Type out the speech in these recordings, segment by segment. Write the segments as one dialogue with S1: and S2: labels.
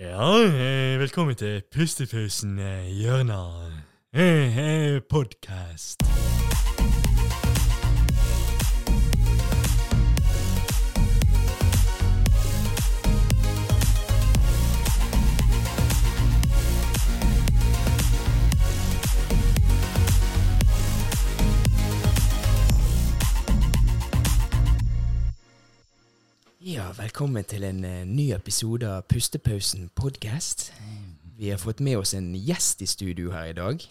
S1: Ja, eh, velkommen til Pustepausen eh, hjørnet. Eh, eh, Podkast.
S2: Ja, velkommen til en eh, ny episode av Pustepausen podcast. Vi har fått med oss en gjest i studio her i dag.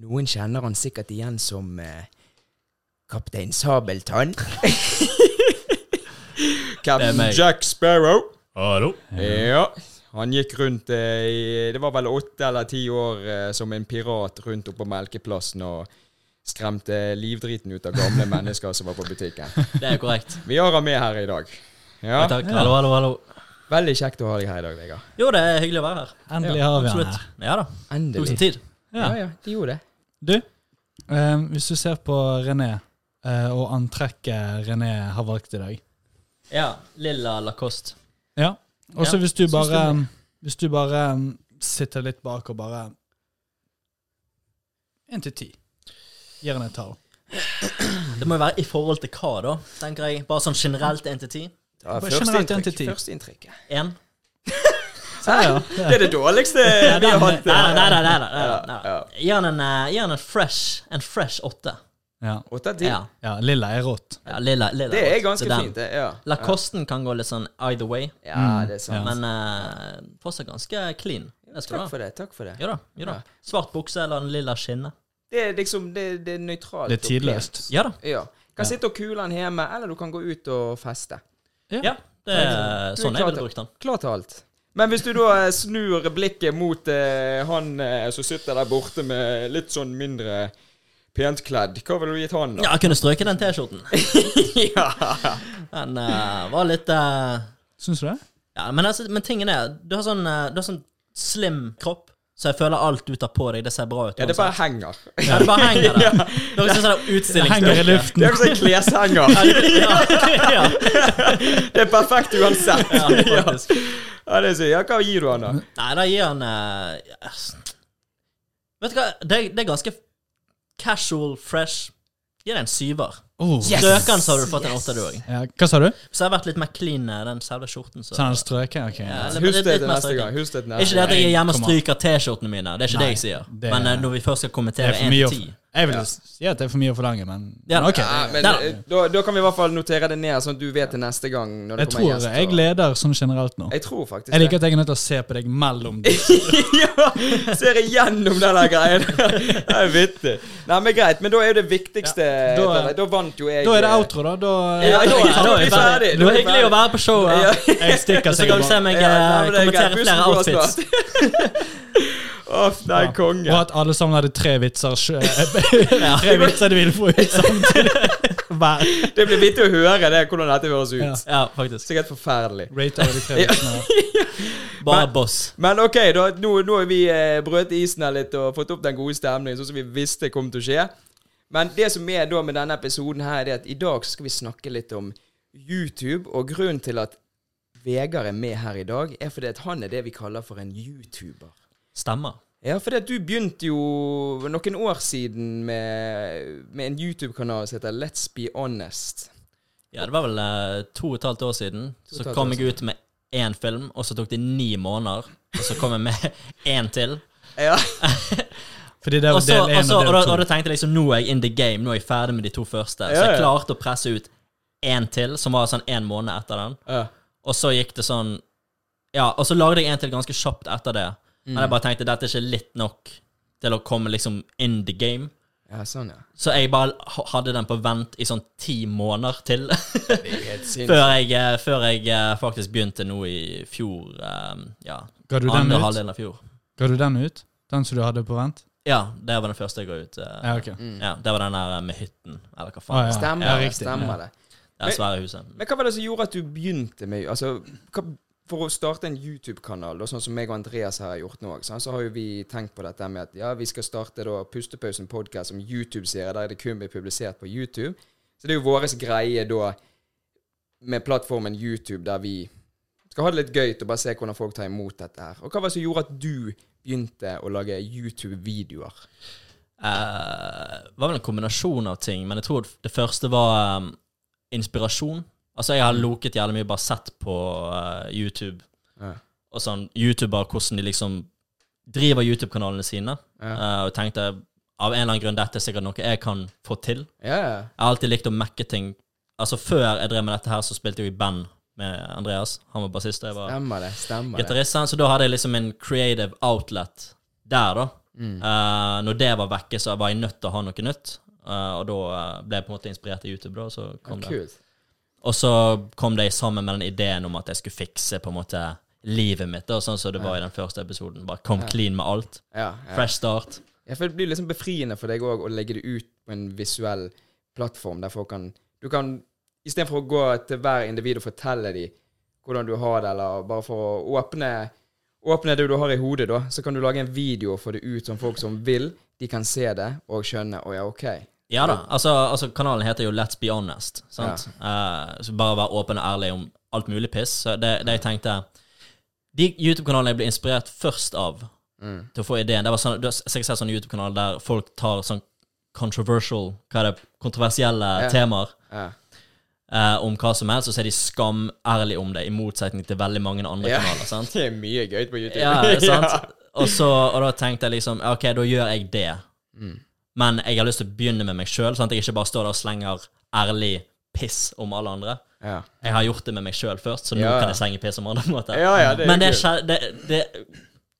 S2: Noen kjenner han sikkert igjen som eh, Kaptein Sabeltann.
S3: Det er
S2: Captain
S3: meg.
S2: Jack Sparrow.
S1: Hallo.
S2: Ja. Han gikk rundt eh, i Det var vel åtte eller ti år eh, som en pirat rundt oppå Melkeplassen og skremte livdriten ut av gamle mennesker som var på butikken.
S3: Det er jo korrekt.
S2: Vi har han med her i dag. Ja.
S3: Takk. Hallo, hallo, hallo.
S2: Veldig kjekt å ha deg her i dag, Vegard.
S3: Jo, det er hyggelig å være her.
S4: Endelig
S2: Ja,
S4: har vi han
S3: Absolutt.
S4: her.
S3: Ja da. Tok sin
S2: Endelig.
S3: tid.
S4: Ja.
S2: Ja, ja, de gjorde det.
S4: Du, eh, hvis du ser på René eh, og antrekket René har valgt i dag
S3: Ja. Lilla Lacoste.
S4: Ja. Og så
S3: Ja,
S4: hvis du
S3: syns
S4: bare
S3: du
S4: Hvis du bare mm, sitter litt bak og bare Én til ti. Gir han et tall.
S3: Det må jo være i forhold til hva, da? Tenker jeg. Bare sånn generelt 1 til 10.
S2: Ja,
S4: Bare generelt
S2: inntrykk,
S4: identitet.
S2: Førsteinntrykket.
S3: 1.
S4: Ja,
S2: Det er det dårligste
S3: Nei,
S2: vi
S3: nei,
S2: har
S3: nei.
S2: hatt.
S3: nei, nei, nei, nei,
S2: Ja,
S3: nei, nei.
S2: ja.
S3: Gi han en, eh, gi han en fresh En fresh 8.
S4: ja.
S2: Åtte av ti.
S3: Ja.
S4: ja lilla er rått.
S3: ja lilla, lilla.
S2: Det er
S3: åtte.
S2: ganske
S3: Så den.
S2: fint, det. Ja.
S3: Lacosten kan gå litt sånn either way,
S2: ja, det er sant.
S3: men eh, fortsatt ganske clean. Det skal du
S2: Takk
S3: ha.
S2: for det. takk for det.
S3: Ja da. ja da
S2: Ja.
S3: Svart bukse eller en lilla skinne.
S2: Det er liksom det, det er nøytralt.
S4: Det er
S2: og
S4: tidløst.
S2: pent.
S3: Ja da.
S2: Ja. Kan sitte og kule den hjemme, eller du kan gå ut og feste.
S3: Ja,
S2: Du
S3: det er
S2: er
S3: sånn jeg
S2: klar
S3: ville
S2: til-
S3: brukt den.
S2: Klar til alt. Men hvis du da eh, snur blikket mot eh, han eh, som sitter der borte med litt sånn mindre pent kledd, hva ville du gitt han, da?
S3: Ja, jeg kunne strøket den T-skjorten.
S2: Ja.
S3: Den eh, var litt eh,
S4: Syns du det?
S3: Ja, men, altså, men tingen er, du har sånn, eh, du har sånn slim kropp, så jeg føler alt du tar på deg, det ser bra ut.
S2: ja, det bare henger.
S3: uansett. ja, det bare henger der. Det er også sånn
S4: Det henger i
S3: utstillingsdøkke.
S2: Det
S4: luften.
S2: er jo som en kleshenger.
S3: Ja, ja,
S2: Det er perfekt uansett.
S3: ja, faktisk.
S2: Ja, det er så, ja, hva gir du han da?
S3: Nei, da gir han eh, ja, Vet du hva, det, det er ganske casual, fresh. Gir deg en syver.
S4: Oh.
S2: Yes!
S3: Strøken, så har du fått en
S2: Yes!
S3: åtter, du òg.
S4: Ja, hva sa du?
S3: Så jeg har vært litt mer clean eh, den selve skjorten. Så.
S4: Sa han strøket? Ok. Ja.
S3: Ja, litt-
S2: Husk det
S3: litt- litt
S2: til
S3: mer
S2: neste
S3: strøken.
S2: gang. Husk det til
S3: Ikke
S2: neste
S3: det
S2: gang.
S3: at jeg er hjemme og
S4: Nei, kom an.
S3: stryker T-skjortene mine. Det er ikke
S4: Nei,
S3: det jeg sier.
S4: det-
S3: men eh, når vi først skal
S4: Det
S3: kommentere
S4: er for
S3: 1
S4: mye å
S3: til 10
S4: Jeg vil si at det er for mye å forlange, men,
S3: Ja.
S4: men ok.
S2: Ja, men
S3: Nei,
S2: eh, da, da kan vi i hvert fall notere det ned, sånn at du vet til neste gang. Når det
S4: Jeg
S2: kommer
S4: tror
S2: gjest,
S4: jeg
S2: og-
S4: leder sånn generelt nå.
S2: Jeg tror faktisk
S4: Jeg liker at jeg er nødt til å se på deg mellom de
S2: ja, ser igjennom den der greien. Det er vittig. Nei, men greit. Men da er jo det viktigste
S4: da
S2: Da,
S4: er-
S2: vant jo jeg. eh,
S4: Da er det outro, da. da eh,
S2: Ja,
S3: Da
S2: da
S3: er- da er vi
S2: vi ferdig.
S3: ferdig. Det var hyggelig å være på showet.
S2: Ja.
S4: jeg stikker
S3: Så kan du se
S4: sikkert.
S3: meg
S2: Ja,
S3: eh,
S2: nei, men det er greit.
S3: kommentere flere
S2: Bussen går
S3: outfits.
S2: snart. Uff, nei,
S4: Og
S2: konge.
S4: at alle sammen hadde tre vitser sj- eh, Tre vitser de ville få ut samtidig. Hver.
S2: Det blir vittig å høre det, hvordan dette høres ut.
S4: Ja.
S3: Ja, faktisk.
S2: Sikkert forferdelig.
S4: Rate over de tre vitsene.
S3: Bare boss.
S2: Men ok, da, nå, nå har vi eh, brøt isen her litt og fått opp den gode stemningen, sånn som vi visste kom til å skje. Men det som er da med denne episoden her, det er at i dag så skal vi snakke litt om YouTube. Og grunnen til at Vegard er med her i dag, er fordi at han er det vi kaller for en YouTuber.
S3: Stemmer.
S2: Ja, fordi at du begynte jo noen år siden med, med en YouTube-kanal som heter Let's Be Honest.
S3: Ja, det var vel eh, to og et halvt år siden.
S2: og et
S3: Så
S2: halvt
S3: kom
S2: år
S3: jeg ut med én film, og så tok det ni måneder. Og så kom jeg med én til.
S2: Ja,
S4: Fordi det
S3: Og
S4: var
S3: så,
S4: del
S3: og,
S4: én
S3: så, og,
S4: og
S3: da, og
S4: del
S3: da
S4: to.
S3: tenkte jeg liksom nå er jeg in the game, nå er jeg ferdig med de to første. Så
S2: Ja,
S3: jeg
S2: ja.
S3: klarte å presse ut én til, som var sånn én måned etter den.
S2: ja.
S3: Og så gikk det sånn Ja, og så lagde jeg en til ganske kjapt etter det. Men jeg bare tenkte dette er ikke litt nok til å komme liksom in the game.
S2: ja sånn, ja.
S3: Så jeg bare ha- hadde den på vent i sånn ti måneder til
S2: Det er jo helt sinnssykt.
S3: før jeg, eh, før jeg eh, faktisk begynte nå i fjor. eh, Ja,
S4: Ga du den
S3: andre
S4: ut?
S3: halvdelen av fjor.
S4: Ga du den ut? Den som du hadde på vent?
S3: Ja, det var den første jeg ga ut. eh,
S4: Ja, ok.
S3: Ja, Det var den der eh, med hytten, eller hva
S4: Ah,
S3: faen.
S4: ja.
S2: Stemmer,
S4: ja,
S2: det,
S4: riktig,
S2: stemmer
S4: ja.
S2: det.
S3: Det er svære huset.
S2: Men hva var det som gjorde at du begynte med altså, hva, For å starte en YouTube-kanal, da, sånn som meg og Andreas her har gjort nå, ikke sant, så har jo vi tenkt på dette med at ja, vi skal starte da Pustepausen podcast som YouTube-serie, der det kun blir publisert på YouTube. Så det er jo vår greie da med plattformen YouTube, der vi skal ha det litt gøy til å bare se hvordan folk tar imot dette her. Og hva var det som gjorde at du begynte å lage YouTube-videoer?
S3: Eh, det var vel en kombinasjon av ting, men jeg tror det første var eh, inspirasjon. Altså, jeg har loket jævlig mye, bare sett på eh, YouTube.
S2: Ja.
S3: Og sånn YouTuber, hvordan de liksom driver YouTube-kanalene sine. Eh, og tenkte av en eller annen grunn dette er sikkert noe jeg kan få til.
S2: Ja,
S3: Jeg har alltid likt å mekke ting. Altså, før jeg drev med dette her, så spilte jeg jo i band med Andreas. Han var bassist, og jeg var
S2: stemmer det. Stemmer det.
S3: gitarist. sant? Så da hadde jeg liksom en creative outlet der, da.
S2: Mm.
S3: Eh, når det var vekke, så var jeg nødt til å ha noe nytt. Eh, og da eh, ble jeg på en måte inspirert av YouTube, da. og Så kom det.
S2: Kult.
S3: Og så kom det sammen med den ideen om at jeg skulle fikse på en måte livet mitt, da, sånn som det var i den første episoden. Bare kom clean med alt.
S2: Ja, ja.
S3: Fresh start.
S2: Ja, for det blir liksom befriende for deg òg å legge det ut på en visuell plattform der folk kan Du kan istedenfor å gå til hver individ og fortelle dem hvordan du har det, eller bare for å åpne Åpne det du har i hodet, da, så kan du lage en video og få det ut som folk som vil. De kan se det og skjønne Å ja, OK.
S3: Ja da. Altså, altså, kanalen heter jo Let's Be Honest. Sant? Eh, så bare være åpen og ærlig om alt mulig piss. Så det, det jeg tenkte De YouTube-kanalene jeg ble inspirert først av
S2: Mm.
S3: til å få ideen Det var sånn, Du har sikkert sett sånne YouTube-kanaler der folk tar sånn controversial Hva er det? Kontroversielle
S2: Ja.
S3: temaer.
S2: Ja.
S3: eh, om hva som helst, og så er de skamærlige om det, i motsetning til veldig mange andre
S2: Ja.
S3: kanaler. sant?
S2: Det er mye gøy på YouTube.
S3: Ja, sant? Og, så, og da tenkte jeg liksom OK, da gjør jeg det.
S2: Mm.
S3: Men jeg har lyst til å begynne med meg sjøl, sånn at jeg ikke bare står der og slenger ærlig piss om alle andre.
S2: Ja.
S3: Jeg har gjort det med meg sjøl først, så nå
S2: Ja.
S3: kan jeg slenge piss om andre. på en måte.
S2: Ja, ja, det er
S3: Men det
S2: kult.
S3: skjedde det, det,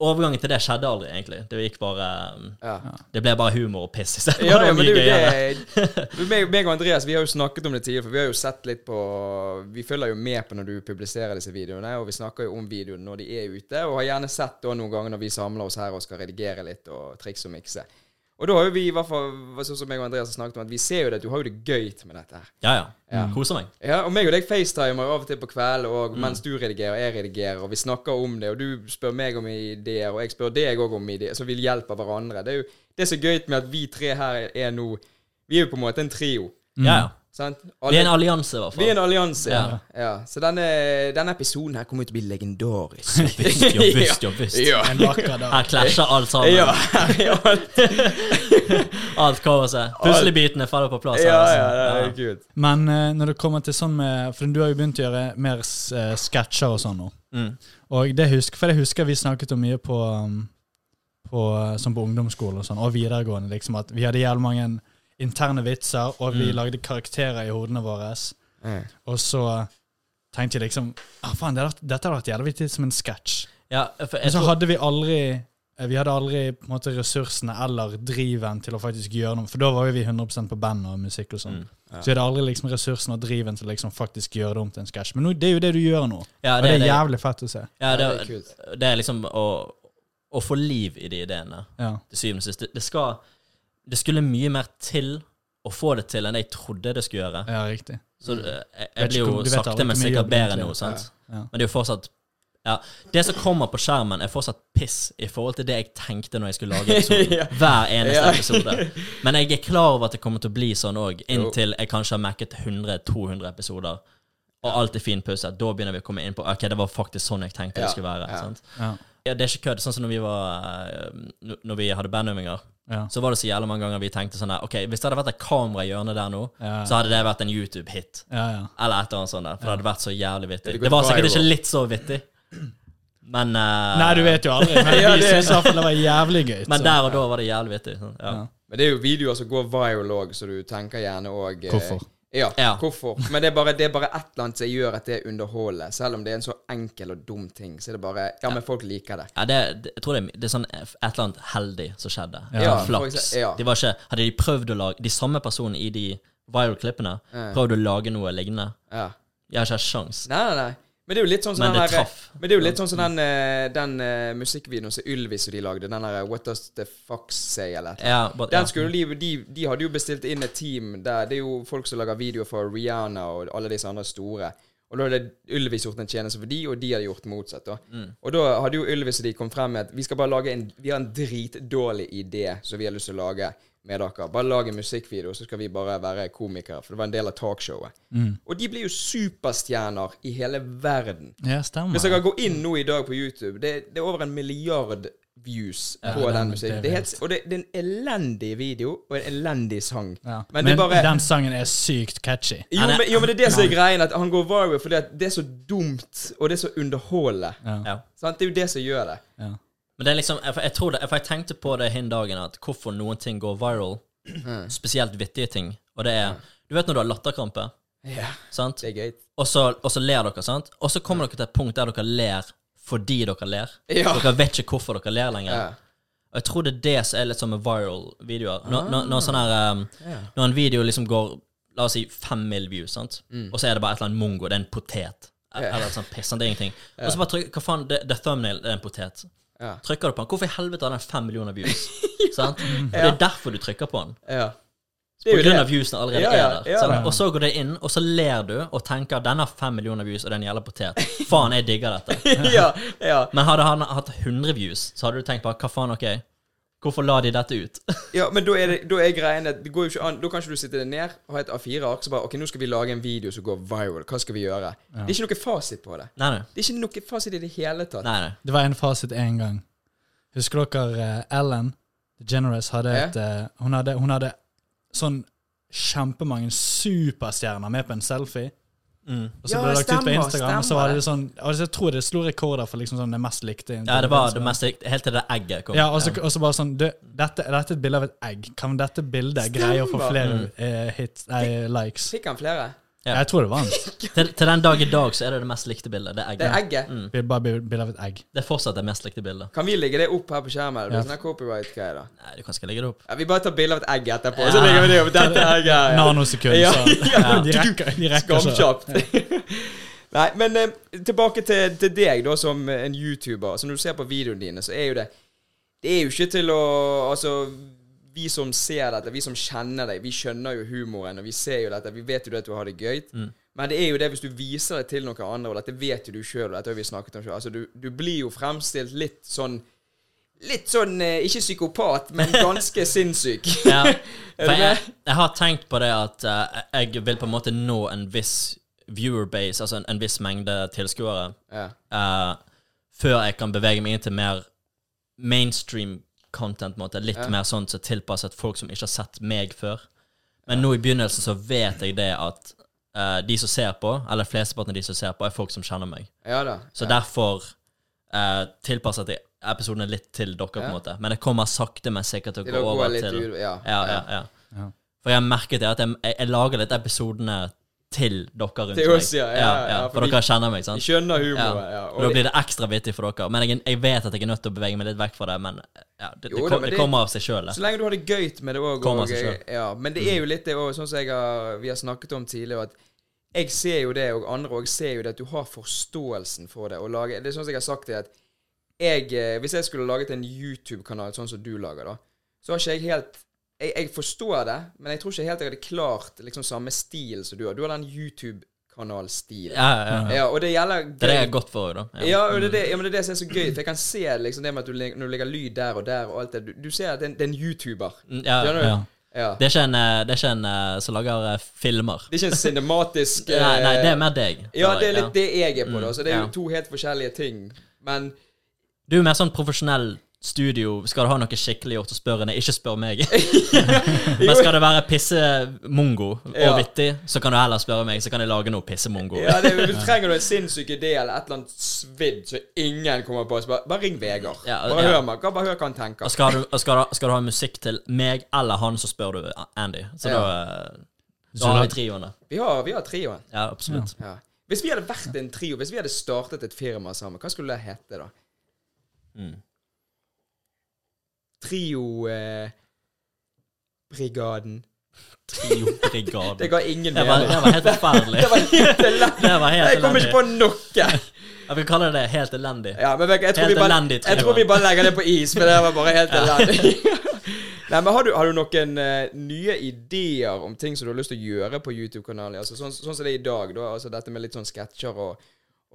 S3: Overgangen til det skjedde aldri, egentlig. Det gikk bare um,
S2: Ja.
S3: Det ble bare humor og piss i stedet.
S2: Ja,
S3: Det
S2: ja,
S3: var
S2: men
S3: mye
S2: det
S3: gøyere.
S2: er jo det meg, meg og Andreas vi har jo snakket om det tidligere, for vi har jo sett litt på Vi følger jo med på når du publiserer disse videoene, og vi snakker jo om videoene når de er ute, og har gjerne sett da noen ganger når vi samler oss her og skal redigere litt og trikse og mikse. Og da har jo vi i hvert fall, sånn som meg og Andreas har snakket om, at vi ser jo det, at du har jo det gøy med dette her.
S3: Ja, ja. Koser meg.
S2: Ja, og meg og deg facetimer jo av og til på kvelden og
S3: Mm.
S2: mens du redigerer og jeg redigerer, og vi snakker om det, og du spør meg om ideer, og jeg spør deg òg om ideer, så vi hjelper hverandre. Det er jo det som er gøy med at vi tre her er nå Vi er jo på en måte en trio,
S4: Mm.
S3: Ja, ja.
S2: sant?
S3: Vi er en
S2: Alle-
S3: allianse, i hvert
S2: vi er
S3: fall.
S2: en allianse. Ja.
S3: Ja.
S2: ja. Så denne, denne episoden her kommer jo til å bli legendarisk.
S3: Visst, jo, visst, jo, visst.
S2: Ja.
S4: En vakker dag.
S3: Her klasjer alt sammen.
S2: Ja, ja,
S3: Alt kaoset. Puslebitene faller på plass. her,
S2: ja,
S3: altså.
S2: ja, det er kult.
S4: Men eh, når det kommer til sånn med For du har jo begynt å gjøre mer eh, sketsjer og sånn nå.
S3: Mm.
S4: Og det husker, For jeg husker vi snakket om mye på, um, på eh, Som på ungdomsskole og sånn, og videregående, liksom, at vi hadde jævlig mange interne vitser, og
S3: Mm.
S4: vi lagde karakterer i hodene våre.
S2: Mm.
S4: Og så tenkte jeg liksom ah, faen, det hadde, vært- Dette hadde vært jævlig vittig som en sketsj.
S3: Ja, for jeg
S4: Men så
S3: tror,
S4: hadde vi aldri eh, vi hadde aldri på en måte, ressursene eller driven til å faktisk gjøre noe. For da var jo vi 100 på band og musikk og
S3: Mm.
S4: sånn. Så vi hadde aldri liksom ressursene og driven til å liksom faktisk gjøre det om til en sketsj. Men nå, det er jo det du gjør nå.
S3: Ja,
S4: og
S3: det
S4: det
S3: er
S4: er
S3: det.
S4: jævlig fett å se.
S3: ja, det,
S2: Ja, det er kult.
S3: det er liksom å, å få liv i de ideene,
S4: Ja.
S3: til syvende og sist. Det, det skal Det skulle mye mer til å få det til enn jeg trodde det skulle gjøre.
S4: ja, riktig.
S3: Så eh, jeg,
S4: Mm. Vet
S3: jeg
S4: ikke
S3: blir
S4: hvor-
S3: jo
S4: du vet aldri
S3: sakte, men
S4: hvor mye
S3: sikkert
S4: jobb
S3: bedre
S4: egentlig
S3: nå,
S4: er.
S3: sant?
S4: Ja.
S3: Men det er jo fortsatt ja, Det som kommer på skjermen, er fortsatt piss i forhold til det jeg tenkte når jeg skulle lage
S2: Ja.
S3: episoden. Hver eneste
S2: Ja.
S3: episode. Men jeg er klar over at det kommer til å bli sånn òg, inntil jeg kanskje har mekket 100-200 episoder, og alt er finpusset. Da begynner vi å komme inn på Ok, det var faktisk sånn jeg tenkte
S2: Ja.
S3: det skulle være.
S2: Ja.
S3: Sant?
S4: Ja.
S3: Ja, det er ikke kødd. Sånn som når vi, var, eh, n- når vi hadde bandøvinger,
S4: Ja.
S3: så var det så jævlig mange ganger vi tenkte sånn der Ok, hvis det hadde vært et kamera i hjørnet der nå,
S4: Ja.
S3: så hadde det vært en YouTube-hit.
S4: Ja, ja.
S3: Eller et eller annet sånt der, for det hadde vært så jævlig vittig.
S2: Det
S3: Det,
S2: hadde gått
S3: var sikkert
S2: viral.
S3: ikke litt så vittig, men eh,
S4: Nei, du vet jo aldri, men
S2: Ja,
S4: vi
S2: det-
S4: syns i hvert fall det var jævlig gøy.
S3: Men
S4: så-
S3: der og da var det jævlig vittig. sånn, Ja.
S4: Ja.
S2: Men det er jo videoer som går viral òg, så du tenker gjerne òg
S4: Hvorfor?
S2: Ja,
S3: Ja.
S2: hvorfor? Men det er, bare, det er bare et eller annet som gjør at det underholder. Selv om det er en så enkel og dum ting, så er det bare Ja, men folk liker det.
S3: Ja, det, det, jeg tror det, er- det er sånn et eller annet heldig som skjedde.
S2: Ja, for
S3: Flaks.
S2: eksempel- ja.
S3: De var ikke, hadde de prøvd å lage De samme personene i de viral-klippene prøvd å lage noe lignende.
S2: Ja.
S3: Jeg har ikke hatt sjans.
S2: Nei, nei, nei. Men det er jo litt sånn som
S3: Men
S2: den
S3: det
S2: der-
S3: traff.
S2: Men det er jo litt sånn som den, eh, den eh, musikkvideoen som Ylvis og de lagde, den der eh, What Does The Fuck Say, eller et eller annet.
S3: Ja, but, ja.
S2: Den skulle jo de, de, de hadde jo bestilt inn et team der Det er jo folk som lager video for Rihanna og alle disse andre store. Og da hadde Ylvis gjort en tjeneste for de, og de hadde gjort motsatt. da.
S3: Mm.
S2: Og da hadde jo Ylvis og de kom frem med at vi skal bare lage en, vi har en dritdårlig idé som vi har lyst til å lage med dere. Bare lag en musikkvideo, så skal vi bare være komikere. For det var en del av talkshowet.
S3: Mm.
S2: Og de blir jo superstjerner i hele verden.
S4: Ja, stemmer.
S2: Hvis dere går inn nå i dag på YouTube, det, det er over en milliard views på
S4: det er-
S2: den
S4: det
S2: musikken.
S4: er
S2: Det er helt, og det, det er en elendig video og en elendig sang.
S4: Ja.
S2: Men
S4: Men,
S2: det er bare-
S4: den sangen er sykt catchy.
S2: Jo
S3: Han er-
S2: men, jo, men det er det som er greien, at han går viral fordi at det er så dumt, og det er så underholdende.
S3: Ja.
S2: Sant? Det er jo det som gjør det.
S4: Ja.
S3: Men det er liksom, jeg, jeg tror det, for jeg tenkte på det hin dagen, at hvorfor noen ting går viral, spesielt vittige ting, og det er, du vet når du har latterkrampe,
S2: Ja,
S3: sant?
S2: det er gøy.
S3: Og så, og så ler dere, sant? Og så kommer dere til et punkt der dere ler fordi dere ler.
S2: Ja.
S3: Dere vet ikke hvorfor dere ler lenger.
S2: Ja.
S3: Og jeg tror det er det som er litt sånn med viral videoer. Når, når,
S2: Ah.
S3: når, sånn her, um, når en video liksom går, la oss si, fem mil views, sant?
S2: Mm.
S3: og så er det bare et eller annet mongo, det er en potet, eller et sånt piss, sant? det er ingenting. Og så bare trykker, hva faen, det, det er thumbnail, det er en potet.
S2: Ja.
S3: Trykker du på den, hvorfor i helvete har den fem millioner views? sant? Og det er derfor du trykker på den.
S2: ja. Det
S3: På
S2: er jo
S3: grunn av
S2: det.
S3: viewsene allerede
S2: Ja, ja,
S3: er der.
S2: ja.
S3: sant? Og så går det inn, og så ler du og tenker den har fem millioner views, og den gjelder potet. Faen, jeg digger dette.
S2: ja, ja.
S3: Men hadde han hatt 100 views, så hadde du tenkt på hva faen, ok, hvorfor la de dette ut?
S2: ja, men da er, det, da er greien at det går jo ikke an. Da kan ikke du sitte deg ned og ha et A4-ark så bare OK, nå skal vi lage en video som går viral. Hva skal vi gjøre? Det er ikke noe fasit på det.
S3: Nei, nei.
S2: Det er ikke noe fasit i det hele tatt.
S3: Nei, nei.
S4: Det var en fasit én gang. Husker dere eh, Ellen DeGeneres hadde
S2: Ja.
S4: et eh, hun, hadde, hun hadde sånn kjempemange superstjerner med på en selfie. Og så
S2: Ja,
S4: ble det lagt ut på
S2: stemmer,
S4: Instagram, og så var det
S2: stemmer.
S4: sånn og Jeg tror det slo rekorder for liksom sånn det mest likte.
S3: Ja, det var det mest Helt til det egget kom.
S4: Ja, og så, og så bare sånn du, dette, dette er et bilde av et egg. Kan dette bildet greie å få
S2: Stemmer.
S4: flere eh, hits, eh, likes?
S2: Fikk han flere?
S3: Ja.
S4: Jeg tror det var han.
S3: Til, til den dag i dag så er det det mest likte bildet. Det er egget.
S2: Det er egget.
S4: Det er Bare bil- bilde av et egg.
S3: Det er fortsatt det mest likte bildet.
S2: Kan vi legge det opp her på skjermen? eller blir
S4: Ja.
S2: det Sånn her copyright-greie, da.
S3: Nei, du kan ikke legge det opp.
S2: Ja, vi bare tar bilde av et egg etterpå, og så legger vi det opp. Dette egget her. ja.
S4: Nanosekund,
S2: Ja,
S4: så
S2: ja.
S4: de rekker, de rekker
S3: altså.
S4: så.
S2: Skamkjapt. Nei, men eh, tilbake til, til deg, da, som eh, en YouTuber. Så når du ser på videoene dine, så er jo det Det er jo ikke til å Altså, vi som ser dette, vi som kjenner deg, vi skjønner jo humoren, og vi ser jo dette. Vi vet jo det at du har det gøy.
S3: Mm.
S2: Men det er jo det hvis du viser det til noen andre, og dette vet jo du sjøl, og dette har vi snakket om sjøl. Altså, du, du blir jo fremstilt litt sånn Litt sånn eh, ikke psykopat, men ganske sinnssyk.
S3: Ja. For
S2: med?
S3: jeg, jeg har tenkt på det at eh, jeg vil på en måte nå en viss viewerbase, altså en, en viss mengde tilskuere,
S2: Ja.
S3: eh, før jeg kan bevege meg inn til mer mainstream content. på en Måte. Litt mer sånn som tilpasset folk som ikke har sett meg før. Men nå i begynnelsen så vet jeg det at eh, de som ser på, eller flesteparten av de som ser på, er folk som kjenner meg.
S2: ja da.
S3: Så derfor eh, tilpasset jeg episodene litt til dere, på en måte. Men det kommer sakte, men sikkert til å
S2: Til
S3: gå
S2: å gå
S3: over
S2: litt
S3: til
S2: ut- ja,
S3: ja, ja, ja.
S4: Ja.
S3: For jeg har merket det at jeg, jeg, jeg lager litt episodene til dere rundt
S2: Til
S3: meg.
S2: oss, ja, ja, ja, for
S3: for
S2: vi-
S3: dere kjenner meg,
S2: Vi
S3: sant?
S2: skjønner
S3: Ja.
S2: humoren, ja.
S3: Og da blir det ekstra vittig for dere. Men jeg, jeg vet at jeg er nødt til å bevege meg litt vekk fra det, men ja, det, det,
S2: Jo da,
S3: kom,
S2: men
S3: det,
S2: det-
S3: kommer av seg sjøl.
S2: Så lenge du har det gøy med det òg.
S3: Kommer seg selv.
S2: Ja, men det er jo litt det òg, sånn som jeg har, vi har snakket om tidligere, at jeg ser jo det, og andre òg ser jo det, at du har forståelsen for det. Og lage, det er sånn som jeg har sagt det, at jeg, eh, hvis jeg skulle laget en YouTube-kanal sånn som du lager, da, så har ikke jeg helt jeg, jeg forstår det, men jeg tror ikke helt jeg hadde klart liksom samme stil som du har. Du har den YouTube-kanalstilen.
S3: Ja, ja, ja.
S2: Ja, og det gjelder
S3: Det er det jeg er godt for òg, da.
S2: Ja, og det er det, ja, men det er det som er så gøy. For jeg kan se liksom det med at du, leg- når du legger lyd der og der og alt det. Du, du ser at det er en, det er en YouTuber.
S3: Mm, ja,
S2: Skjønner du?
S3: ja.
S2: Ja.
S3: Det er ikke en, eh, det er ikke en eh, som lager eh, filmer.
S2: Det er ikke en cinematisk
S3: Nei, nei,
S2: eh,
S3: det er mer deg.
S2: Ja,
S3: tror
S2: det
S3: jeg,
S2: er
S3: ja. Mm,
S2: litt det jeg er på, da. Så det er
S3: ja.
S2: jo to helt forskjellige ting. Men
S3: Du er mer sånn profesjonell studio. Skal du ha noe skikkelig gjort, så spør henne. Ikke spør meg. Men skal det være pissemongo og
S2: Ja.
S3: vittig, så kan du heller spørre meg, så kan jeg lage noe pissemongo.
S2: ja, det, du trenger du en sinnssyk idé eller et eller annet svidd som ingen kommer på, så bare, bare ring Vegard.
S3: Ja,
S2: bare,
S3: ja.
S2: hør meg, bare hør hva han tenker.
S3: Og skal du, og skal, du, skal du ha musikk til meg eller han, så spør du Andy. Så
S2: Ja.
S3: da, eh,
S4: Så
S3: da har
S4: da-
S3: vi trioene.
S2: Vi har, vi har trioen.
S3: Ja, absolutt.
S2: Ja. Hvis vi hadde vært en trio, hvis vi hadde startet et firma sammen, hva skulle det hete da?
S3: Mm.
S2: Trio eh, Brigaden.
S3: Triobrigade.
S2: Det ga ingen
S3: Det var,
S2: mening.
S3: det var helt forferdelig.
S2: Det var helt elendig.
S3: Det var helt
S2: Jeg kom ikke på noe.
S3: Jeg vil kalle det helt elendig.
S2: Ja, men jeg, jeg, tror
S3: Helt
S2: vi bare,
S3: elendig, tror
S2: jeg
S3: jeg
S2: tror
S3: var.
S2: vi bare legger det på is, for det var bare helt elendig. Nei, men har du, har du noen eh, nye ideer om ting som du har lyst til å gjøre på YouTube-kanalen? Altså, sånn, sånn som det er i dag, da. Altså, dette med litt sånn sketsjer og,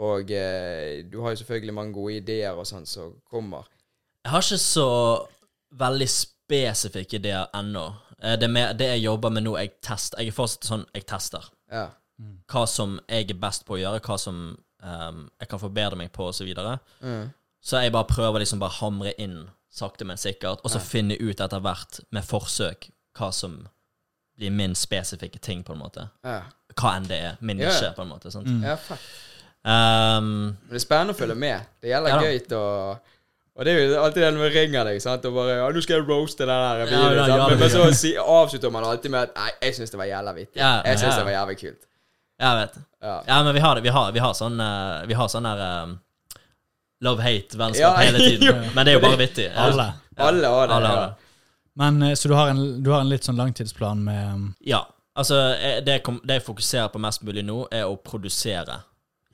S2: og eh, Du har jo selvfølgelig mange gode ideer og sånn som kommer.
S3: Jeg har ikke så veldig spesifikke ideer ennå. Eh, Det, er mer- det jeg jobber med nå, jeg tester. Jeg er fortsatt sånn, jeg tester.
S2: Ja.
S3: Hva som jeg er best på å gjøre, hva som ehm, jeg kan forbedre meg på, osv. Så, videre.
S2: Mm.
S3: så jeg bare prøver liksom bare hamre inn sakte, men sikkert, og så finne ut etter hvert, med forsøk, hva som blir min spesifikke ting, på en måte.
S2: Ja,
S3: Hva enn det er. Min
S2: Ja.
S3: nisje, på en måte. Sant?
S2: ja fett.
S3: Ehm,
S2: Men det er spennende å følge med. Det gjelder
S3: Ja da.
S2: gøyt og og det er jo alltid den med ringer deg sant? og bare ja, 'Nå skal jeg roaste den der videoen.'
S3: ja,
S2: sant?
S3: ja,
S2: men, men
S3: ja.
S2: så si, avslutter man alltid med at 'Nei, jeg syns det var jævla vittig'.
S3: Ja,
S2: jeg syns
S3: ja.
S2: det var jævlig kult.
S3: jeg vet.
S2: Ja.
S3: Ja, men vi har det. Vi har, vi har sånn eh, Vi har sånn der eh, love-hate-vennskap
S2: Ja,
S3: hele tiden.
S2: jo.
S3: Men det er jo bare vittig. Ja.
S4: Alle.
S2: Alle har det.
S3: Alle har
S2: ja.
S3: det.
S4: Men, eh, så du har, en, du har en litt sånn langtidsplan med um,
S3: Ja. Altså, eh, det, jeg kom, det jeg fokuserer på mest mulig nå, er å produsere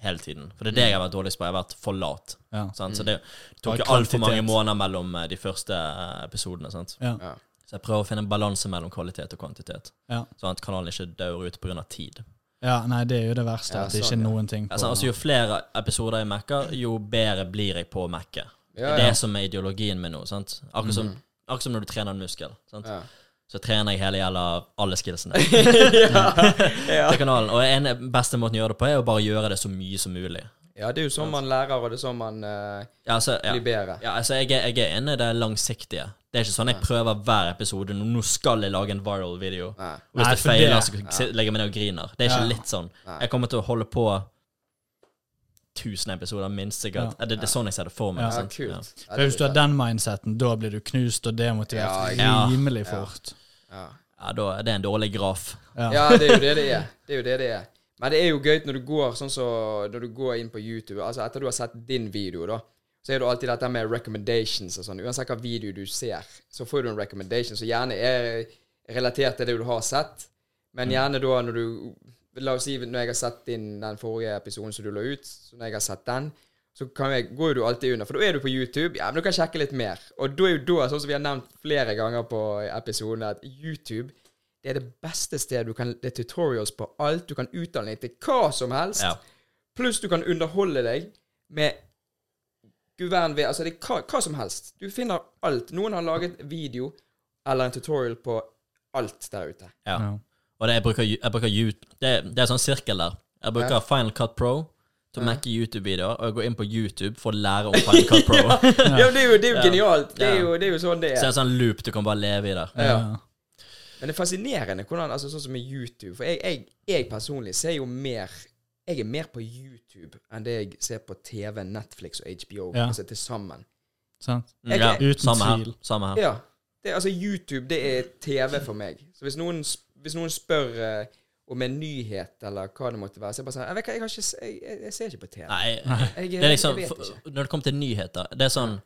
S3: hele tiden. For det er det jeg har vært dårligst på. Jeg har vært for lat.
S4: ja.
S3: Sant? Så det
S4: Bare
S3: tok jo altfor mange
S4: Mm. kvantitet.
S3: måneder mellom eh, de første eh, episodene. Sant?
S4: Ja.
S2: Ja.
S3: Så jeg prøver å finne en balanse mellom kvalitet og kvantitet.
S4: Ja.
S3: Sånn at kanalen ikke dør ut pga. tid.
S4: ja, nei, det er jo det verste.
S2: Ja,
S4: at det
S2: sånn,
S4: ikke er
S2: ja.
S4: noen ting på
S3: Altså, altså, jo flere episoder jeg mekker, jo bedre blir jeg på å mekke.
S2: Ja,
S3: Det er
S2: ja. Mhm.
S3: det som er ideologien min nå. sant? Akkurat som, akkurat som når du trener en muskel. sant?
S2: Ja.
S3: Så trener jeg hele gjelda alle skillsene
S2: ja.
S3: på kanalen. Og en beste måten å gjøre det på, er å bare gjøre det så mye som mulig.
S2: ja, det er jo sånn man lærer, og det er sånn man eh,
S3: Ja, altså, ja.
S2: blir bedre.
S3: Ja, altså jeg, er- jeg er enig i det langsiktige. Det er ikke sånn jeg prøver hver episode. Nå nå skal jeg lage en viral video.
S2: Nei.
S3: Og hvis
S4: Nei,
S3: det
S4: for det-
S3: feiler, så sit- legger jeg meg ned og griner. Det er ikke
S4: Ja.
S3: litt sånn. Jeg kommer til å holde på 1000 episoder, minst sikkert. Det, det er sånn jeg ser det for meg.
S4: Ja,
S2: Ja,
S3: sant?
S2: kult.
S3: Ja.
S2: Ja,
S4: For Hvis du har den mindseten, da blir du knust og demotivert
S3: Ja, jeg-
S4: rimelig
S2: Ja.
S4: fort.
S2: Ja.
S3: Ja, da, det er en dårlig graf.
S4: Ja.
S2: ja, det er jo det det er. Det er jo det det er. Men det er jo gøy når du går sånn så, når du går inn på YouTube, altså etter du har sett din video, da, så er det jo alltid dette med recommendations og sånn. Uansett hva video du ser, så får du en recommendation som gjerne er relatert til det du har sett. Men gjerne da når du La oss si når jeg har sett din, den forrige episoden som du la ut, så når jeg har sett den, så kan jeg, går jo du alltid under. For da er du på YouTube. Ja, men du kan sjekke litt mer. Og da er jo da, sånn som vi har nevnt flere ganger på episoden, at YouTube det er det beste stedet du kan Det er tutorials på alt. Du kan utdanne deg til hva som helst.
S3: Ja.
S2: Pluss du kan underholde deg med guvern ved Altså det er hva, hva som helst. Du finner alt. Noen har laget video eller en tutorial på alt der ute.
S3: Ja.
S4: Ja.
S3: Og det, jeg bruker, jeg bruker YouTube, det, det er sånn sirkel der. Jeg bruker
S2: Ja.
S3: Final Cut Pro til å mekke YouTube-videoer, og jeg går inn på YouTube for å lære om Final Cut Pro. Så
S2: Ja, men det er jo, det er jo
S3: Ja.
S2: genialt. Det er
S3: Ja.
S2: jo, det er jo sånn det
S3: det er
S2: er.
S3: en sånn loop du kan bare leve i der.
S2: Ja.
S4: Ja.
S2: Men det er fascinerende hvordan altså Sånn som med YouTube. For jeg, jeg, jeg personlig ser jo mer Jeg er mer på YouTube enn det jeg ser på TV, Netflix og HBO.
S4: Ja.
S2: Altså til sammen.
S4: Sant?
S3: Mm,
S2: Jeg-
S3: ja,
S4: Uten
S3: samme her.
S4: tvil.
S3: Samme her.
S2: Ja. Det, altså, YouTube, det er TV for meg. Så hvis noen, s- hvis noen spør eh, om en nyhet eller hva det måtte være, så er jeg bare sånn Jeg, vet, ikke, jeg, har ikke, s- jeg, jeg, jeg ser ikke på TV.
S3: Nei,
S2: Jeg,
S3: det er liksom,
S2: jeg vet
S3: for,
S2: ikke.
S3: når det kommer til nyheter, det er sånn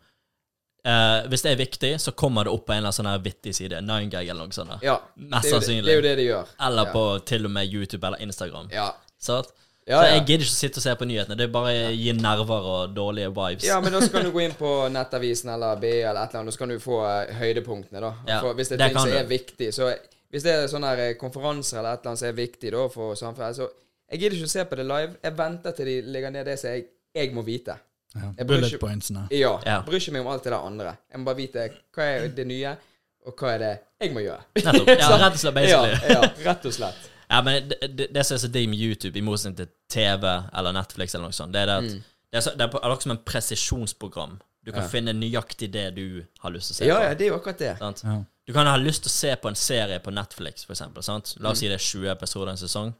S3: eh, Hvis det er viktig, så kommer det opp på en eller annen sånn her vittig side. Nine gag eller noe sånt. der.
S2: Ja,
S3: Mest
S2: det er jo det-
S3: sannsynlig.
S2: Det er jo det det gjør.
S3: Eller
S2: Ja.
S3: på til og med YouTube eller Instagram.
S2: Ja.
S3: Sant?
S2: Ja,
S3: Så jeg
S2: ja.
S3: gidder ikke å sitte og se på nyhetene. Det er bare gir nerver og dårlige vibes.
S2: ja, men da skal du gå inn på Nettavisen eller BI eller et eller annet, og så kan du få eh, høydepunktene, da.
S3: Ja,
S2: For hvis det
S3: det
S2: er ting
S3: kan
S2: som
S3: du.
S2: er viktig, så Hvis det er sånne her, eh, konferanser eller et eller annet som er viktig da for samfunnet, så Jeg gidder ikke å se på det live. Jeg venter til de legger ned det som jeg, jeg må vite.
S4: Ja.
S2: Jeg bryr
S4: Bullet
S2: ikke-
S4: pointsene.
S2: Ja.
S3: Ja.
S2: Bryr ikke meg om alt det der andre. Jeg må bare vite hva er det nye, og hva er det jeg må gjøre.
S3: Nettopp. Ja,
S2: Så-
S3: rett og slett, basically.
S2: Ja, ja, rett og slett.
S3: Ja, men det, det, det som er så digg med YouTube, i motsetning til TV eller Netflix, eller noe sånt, det er det at
S2: Mm.
S3: det, er, så, det er på- det er akkurat som en presisjonsprogram. Du kan finne nøyaktig det du har lyst til å se
S2: Ja,
S3: på.
S2: ja, det er jo akkurat det.
S3: Sant?
S4: Ja.
S3: Du kan ha lyst til å se på en serie på Netflix, for eksempel. Sant?
S2: Mm.
S3: La oss si det er 20 episoder i en sesong.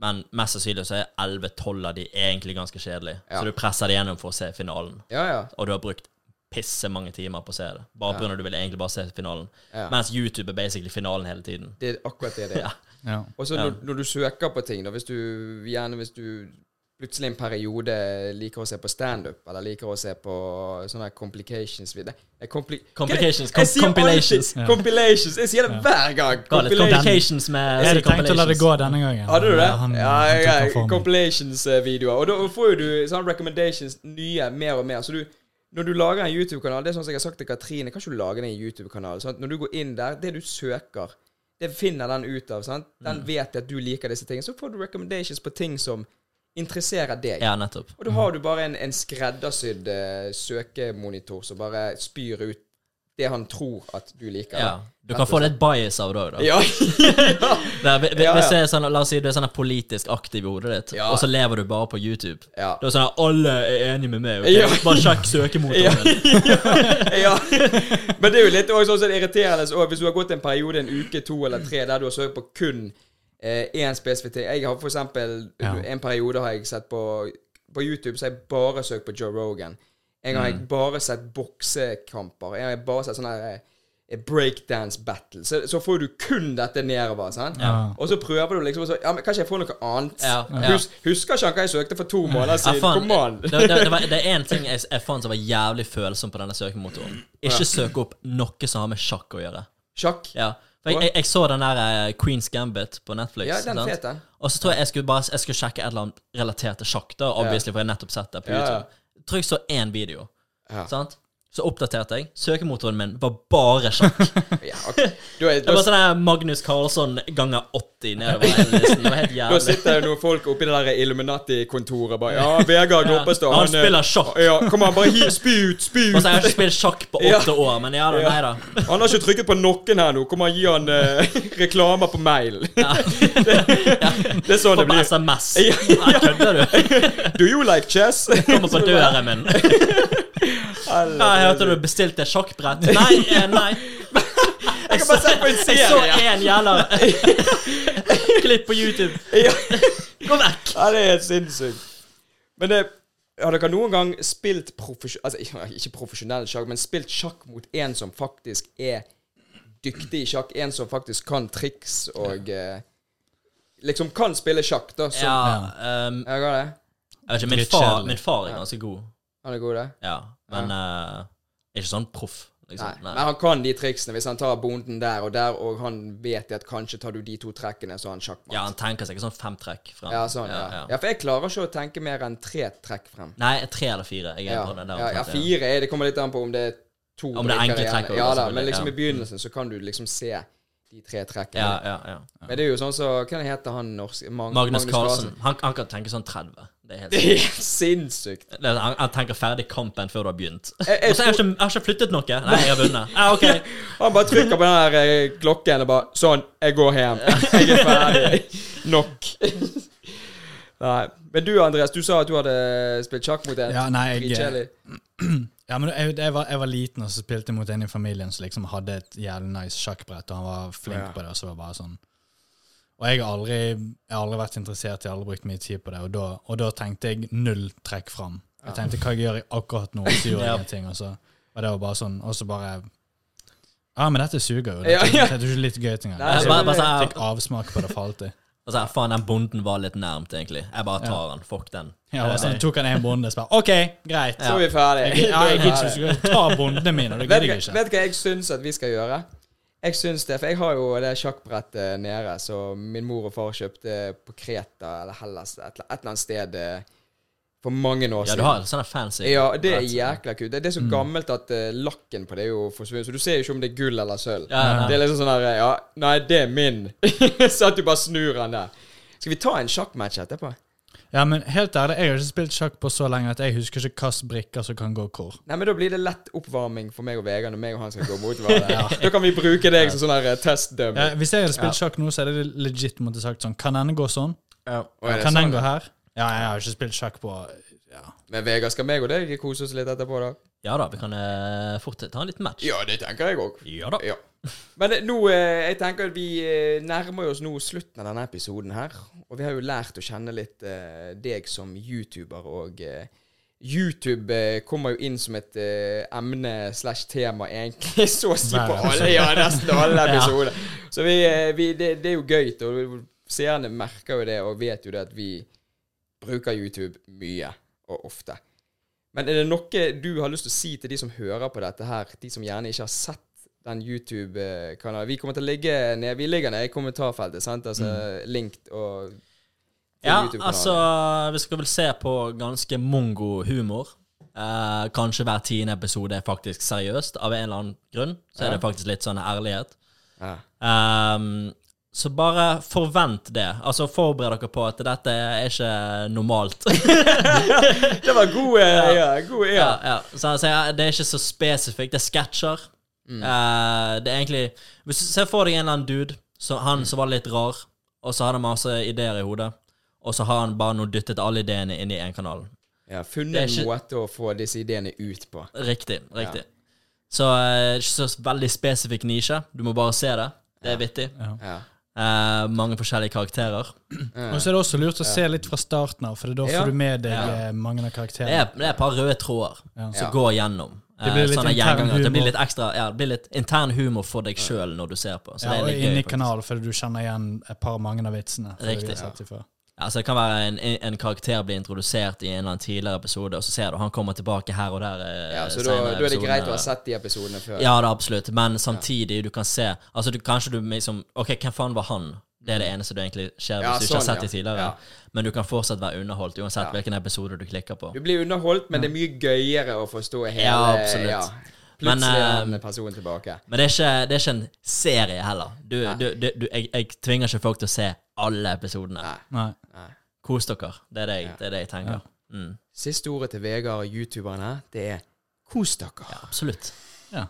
S3: Men mest sannsynlig så er 11-12 av de egentlig ganske kjedelige.
S2: Ja.
S3: Så du presser det gjennom for å se finalen.
S2: Ja, ja.
S3: Og du har brukt pisse mange timer på å se det. Bare pga. at du ville egentlig bare se finalen.
S2: Ja.
S3: Mens YouTube er basically finalen hele tiden.
S2: Det er akkurat det det er.
S4: Ja.
S2: Og så når, når du søker på ting, da, hvis du gjerne hvis du plutselig en periode liker å se på standup, eller liker å se på sånne her complications videre compli
S3: Complications,
S2: Jeg sier alltid
S3: compilations.
S2: Compilations! Jeg sier det hver gang!
S3: Ga litt
S2: Compilation.
S3: complications med
S4: Jeg hadde tenkt å la det gå denne gangen.
S2: Hadde du det?
S4: Ja, han-
S2: ja,
S4: han tok
S2: ja,
S4: den for meg.
S2: compilations-videoer. Og da får jo du sånne recommendations nye mer og mer. Så du, Når du lager en YouTube-kanal, det er sånn som jeg har sagt til Katrine, kan ikke du lage den i YouTube-kanalen? sant? Når du går inn der, det du søker, det finner den ut av. sant? Den
S4: Mm.
S2: vet at du liker disse tingene. Så får du recommendations på ting som interesserer deg.
S3: Ja, nettopp.
S2: Og da
S4: Mm.
S2: har du bare en, en skreddersydd eh, søkemonitor som bare spyr ut det han tror at du liker.
S3: Ja. Du kan få litt bias av det òg, da.
S2: Ja.
S3: Nei, vi- vi-
S2: Ja, ja.
S3: Hvis jeg er sånn, la oss si du er sånn politisk aktiv i hodet ditt,
S2: Ja.
S3: og så lever du bare på YouTube.
S2: Ja.
S3: Da er det sånn at alle er enige med meg. ok?
S2: Ja.
S3: Bare sjekk søkemotoren.
S2: Ja.
S3: min.
S2: ja. Men det er jo litt også sånn som det irriterende så hvis du har gått en periode, en uke, to eller tre, der du har søkt på kun eh, én spesifikk ting. Jeg har for eksempel en periode har jeg sett på På YouTube så har jeg bare søkt på Joe Rogan. En gang har
S3: Mm.
S2: jeg bare sett boksekamper. En gang har jeg bare sett sånne her, eh, breakdance battle. Så, så får du kun dette nedover. sant? Og så prøver du liksom så, Ja, men kanskje jeg får noe annet?
S3: Ja, ja.
S2: Hus, husker ikke han hva jeg søkte for to måneder
S3: Ja,
S2: siden?
S3: faen,
S2: Kom an!
S3: det, det, det, var, det er én ting jeg, jeg fant som var jævlig følsom på denne søkemotoren. Ikke søk opp noe som har med sjakk å gjøre.
S2: Sjakk.
S3: Ja. For jeg, jeg, jeg så den der eh, Queen's Gambit på Netflix.
S2: Ja, den
S3: sant?
S2: fet, den.
S3: Og så tror jeg jeg skulle, bare, jeg skulle sjekke et eller annet relatert til sjakk, da, obviously, for jeg har nettopp sett det på
S2: Ja, ja.
S3: YouTube. Tror jeg så én video.
S2: Ja.
S3: Sant? Så oppdaterte jeg. Søkemotoren min var bare sjakk.
S2: Ja, ok. Da er-
S3: Det
S2: da
S3: var sånn der Magnus Carlsson ganger 80 nedover hele listen. Det var helt
S2: Da
S3: jævlig.
S2: sitter det noen folk oppi det der Illuminati-kontoret bare Ja, Vegard Groppestad
S3: Han
S2: eh,
S3: spiller sjakk.
S2: Ja, kom an, bare hi, spy ut, spy
S3: Og så har
S2: ut!
S3: jeg ikke spilt sjakk på åtte år, men ja da, nei da.
S2: Han har ikke trykket på noen her nå. Kom an, gi han eh, reklamer på mail. Det er sånn
S3: På
S2: det blir.
S3: SMS.
S2: Ja,
S3: Nei, kødder du?
S2: Do you like chess?
S3: Kommer på døren min. Ja, jeg hørte du bestilte et sjakkbrett. Nei, eh, nei.
S2: Jeg kan bare se på en
S3: Jeg så
S2: serie.
S3: en jævla klipp på YouTube.
S2: Ja.
S3: Gå vekk!
S2: Ja, det er helt sinnssykt. Men det har dere noen gang spilt profesjon... Altså, ja, ikke profesjonell sjakk, men spilt sjakk mot en som faktisk er dyktig i sjakk? En som faktisk kan triks og eh, Liksom kan spille sjakk, da. Som,
S3: Ja,
S2: ja.
S3: ehm,
S2: Jeg har det.
S3: jeg vet ikke, min far,
S4: Drittkjedelig.
S3: min far er ganske god,
S2: Han er god, det.
S3: ja. Men eh, ikke sånn proff,
S2: Nei.
S3: liksom.
S2: Men han kan de triksene. Hvis han tar bonden der og der, og han vet at kanskje tar du de to trekkene, så har han sjakkmatt.
S3: Ja, han tenker seg ikke sånn fem trekk frem.
S2: Ja, sånn, ja. Ja. for jeg klarer ikke å tenke mer enn tre trekk frem.
S3: Nei, tre eller fire. Jeg er
S2: Ja,
S3: på den der.
S2: ja, ja
S3: omtrent,
S2: fire er Det kommer litt an på om det er to
S3: Om det er
S2: brikker
S3: enkle
S2: igjen.
S3: trekk
S2: Ja
S3: også,
S2: da,
S3: selvfølgelig,
S2: men liksom
S3: ja.
S2: i begynnelsen så kan du liksom se de tre trekkene.
S3: Ja, ja, ja.
S2: Men det er jo sånn så Hva heter han norske Mag
S3: Magnus Carlsen. Han, han kan tenke sånn 30. Det er helt
S2: Det er sinnssykt.
S3: Det er- han, han tenker ferdig kampen før du har begynt. Og så
S2: jeg
S3: har jeg, ikke- jeg har ikke flyttet noe. Nei, jeg har vunnet. Ja, ok.
S2: Han bare trykker på den der eh, klokken og bare Sånn, jeg går hjem. Jeg er ferdig. Nok. Nei. Men du, Andreas, du sa at du hadde spilt sjakk mot en.
S4: Ja, nei, jeg-
S2: Dritkjedelig.
S4: Ja, men jeg, jeg, var, jeg var liten og så spilte jeg mot en i familien som liksom hadde et jævlig nice sjakkbrett, og han var flink
S2: Ja.
S4: på det. Og så var det bare sånn Og jeg har aldri, jeg har aldri vært interessert, jeg har aldri brukt mye tid på det, og da, og da tenkte jeg null trekk fram. Jeg tenkte hva jeg gjør jeg akkurat nå, så gjorde
S3: Ja.
S4: jeg ingenting, og så og det var bare sånn, og så bare Ja, men dette suger jo.
S2: Ja,
S4: Dette,
S2: ja.
S4: dette er jo ikke litt gøy engang.
S2: Nei,
S4: Jeg
S3: Bare, bare
S4: fikk
S3: sånn,
S4: avsmak på det for alltid.
S3: og så, faen, den bonden var litt nærmt, egentlig. Jeg bare tar han. Fuck den. Eh,
S4: Ja, sånn og så tok han en bonde og spurte OK, greit.
S2: Så er vi ferdig.
S4: Jeg, eh, ja,
S2: Da er vi
S4: jeg gidder
S2: ferdig.
S4: ikke så godt. ta bondene mine, det
S2: Vet du,
S4: gidder jeg
S2: hva-
S4: ikke.
S2: vet du hva jeg syns at vi skal gjøre? Jeg syns det, for jeg har jo det sjakkbrettet nede som min mor og far kjøpte på Kreta eller Hellas, et, eller- et eller annet sted eh, for mange år
S3: Ja,
S2: siden.
S3: du har sånne fancy
S2: Ja, det er
S3: brett.
S2: jækla kult. Det det er så
S3: Mm.
S2: gammelt at eh, lakken på det er jo forsvunnet. Så du ser jo ikke om det er gull eller sølv.
S3: Ja, ja, ja.
S2: Det er liksom sånn her Ja, nei, det er min. så at du bare snur den der. Skal vi ta en sjakkmatch etterpå?
S4: Ja, men helt ærlig, jeg har ikke spilt sjakk på så lenge at jeg husker ikke hvilke brikker som kan gå hvor.
S2: Nei, men Da blir det lett oppvarming for meg og Vegard når meg og han skal gå mot hverandre. Da kan vi bruke deg som sånn her eh, testdømme.
S4: Ja, hvis jeg hadde spilt sjakk nå, så hadde jeg legit måtte sagt sånn Kan denne gå sånn?
S2: Ja.
S4: Kan
S3: sånn,
S4: den gå her? Ja, jeg har ikke spilt sjakk på ja.
S2: Men Vegard, skal meg og deg kose oss litt etterpå, da?
S3: Ja da, vi kan eh, fort ta en liten match.
S2: Ja, det tenker jeg òg.
S3: Ja da.
S2: Ja. Men eh, nå, eh, jeg tenker at vi eh, nærmer oss nå slutten av denne episoden her. Og vi har jo lært å kjenne litt eh, deg som YouTuber, og eh, YouTube eh, kommer jo inn som et eh, emne slash tema, egentlig, så å si
S4: Hver
S2: på alle,
S4: episode.
S2: ja, nesten alle episoder. Så vi, eh, vi det, det er jo gøy, og seerne merker jo det, og vet jo det at vi bruker YouTube mye og ofte. Men er det noe du har lyst til å si til de som hører på dette her, de som gjerne ikke har sett den YouTube-kanalen? Vi kommer til å ligge ned, vi ligger ned i kommentarfeltet, sant? Altså linked og til
S3: Mm. Ja,
S2: YouTube-kanalen.
S3: altså Vi skal vel se på ganske mongo humor. Eh, kanskje hver tiende episode er faktisk seriøst, av en eller annen grunn. Så er det faktisk litt sånn ærlighet.
S2: Ja.
S3: Ehm, så bare forvent det. Altså Forbered dere på at dette er ikke normalt.
S2: Det var god eh, ja, god ja.
S3: ja, ja. Så, så ja, det er ikke så spesifikt. Det er sketsjer. Eh, det er egentlig Hvis du ser for deg en eller annen dude, så han som var litt rar, og så hadde han masse ideer i hodet, og så har han bare nå dyttet alle ideene inn i én kanal.
S2: ja
S3: Det
S2: funnet
S3: er
S2: en
S3: ikke-
S2: måte å få disse ideene ut på.
S3: Riktig. riktig Så eh, ikke så veldig spesifikk nisje. Du må bare se det. Det er vittig.
S2: Ja.
S3: Eh, mange forskjellige karakterer.
S4: Og så er det også lurt å se litt fra starten av, for da får
S2: Ja.
S4: du med deg
S3: Ja.
S4: eh, mange av
S3: Det
S4: karakterene.
S3: er, det er et par røde tråder som
S2: Ja.
S3: går gjennom.
S4: Det blir
S3: eh,
S4: litt
S3: sånne
S4: intern
S3: gjengangere. Det blir
S4: humor.
S3: litt ekstra Ja, det blir litt intern humor for deg sjøl når du ser på. Så
S4: Ja,
S3: det er
S4: og
S3: litt
S4: inn
S3: gøy.
S4: i
S3: faktisk.
S4: kanalen, for du kjenner igjen et par mange av vitsene. for det vi har
S3: Riktig.
S4: sett ifra.
S3: Ja, så det kan være en, en karakter blir introdusert i en eller annen tidligere episode, og så ser du han kommer tilbake her og der. eh,
S2: Ja, så da,
S3: senere
S2: da er det
S3: episoden,
S2: greit å ha
S3: eller-
S2: sett de episodene før.
S3: Ja, det er absolutt. Men samtidig, du kan se Altså, du, kanskje du liksom Ok, hvem faen var han? Det er det eneste du egentlig ser hvis
S2: Mm. Ja,
S3: du ikke har
S2: sånn,
S3: sett
S2: ja.
S3: det tidligere.
S2: Ja.
S3: Men du kan fortsatt være underholdt, uansett
S2: Ja.
S3: hvilken episode du klikker på.
S2: Du blir underholdt, men det er mye gøyere å forstå hele
S3: Ja, absolutt. Men,
S2: Plutselig er
S3: eh,
S2: en person tilbake.
S3: Men det er ikke, det er ikke en serie heller. Du, du, du, du, jeg, jeg tvinger ikke folk til å se alle episodene.
S2: Nei.
S4: Nei.
S3: Kos dere. Det er det jeg, det er det jeg tenker. Mm,
S2: Siste ordet til Vegard, youtuberen her, det er kos dere.
S3: absolutt.
S4: Ja.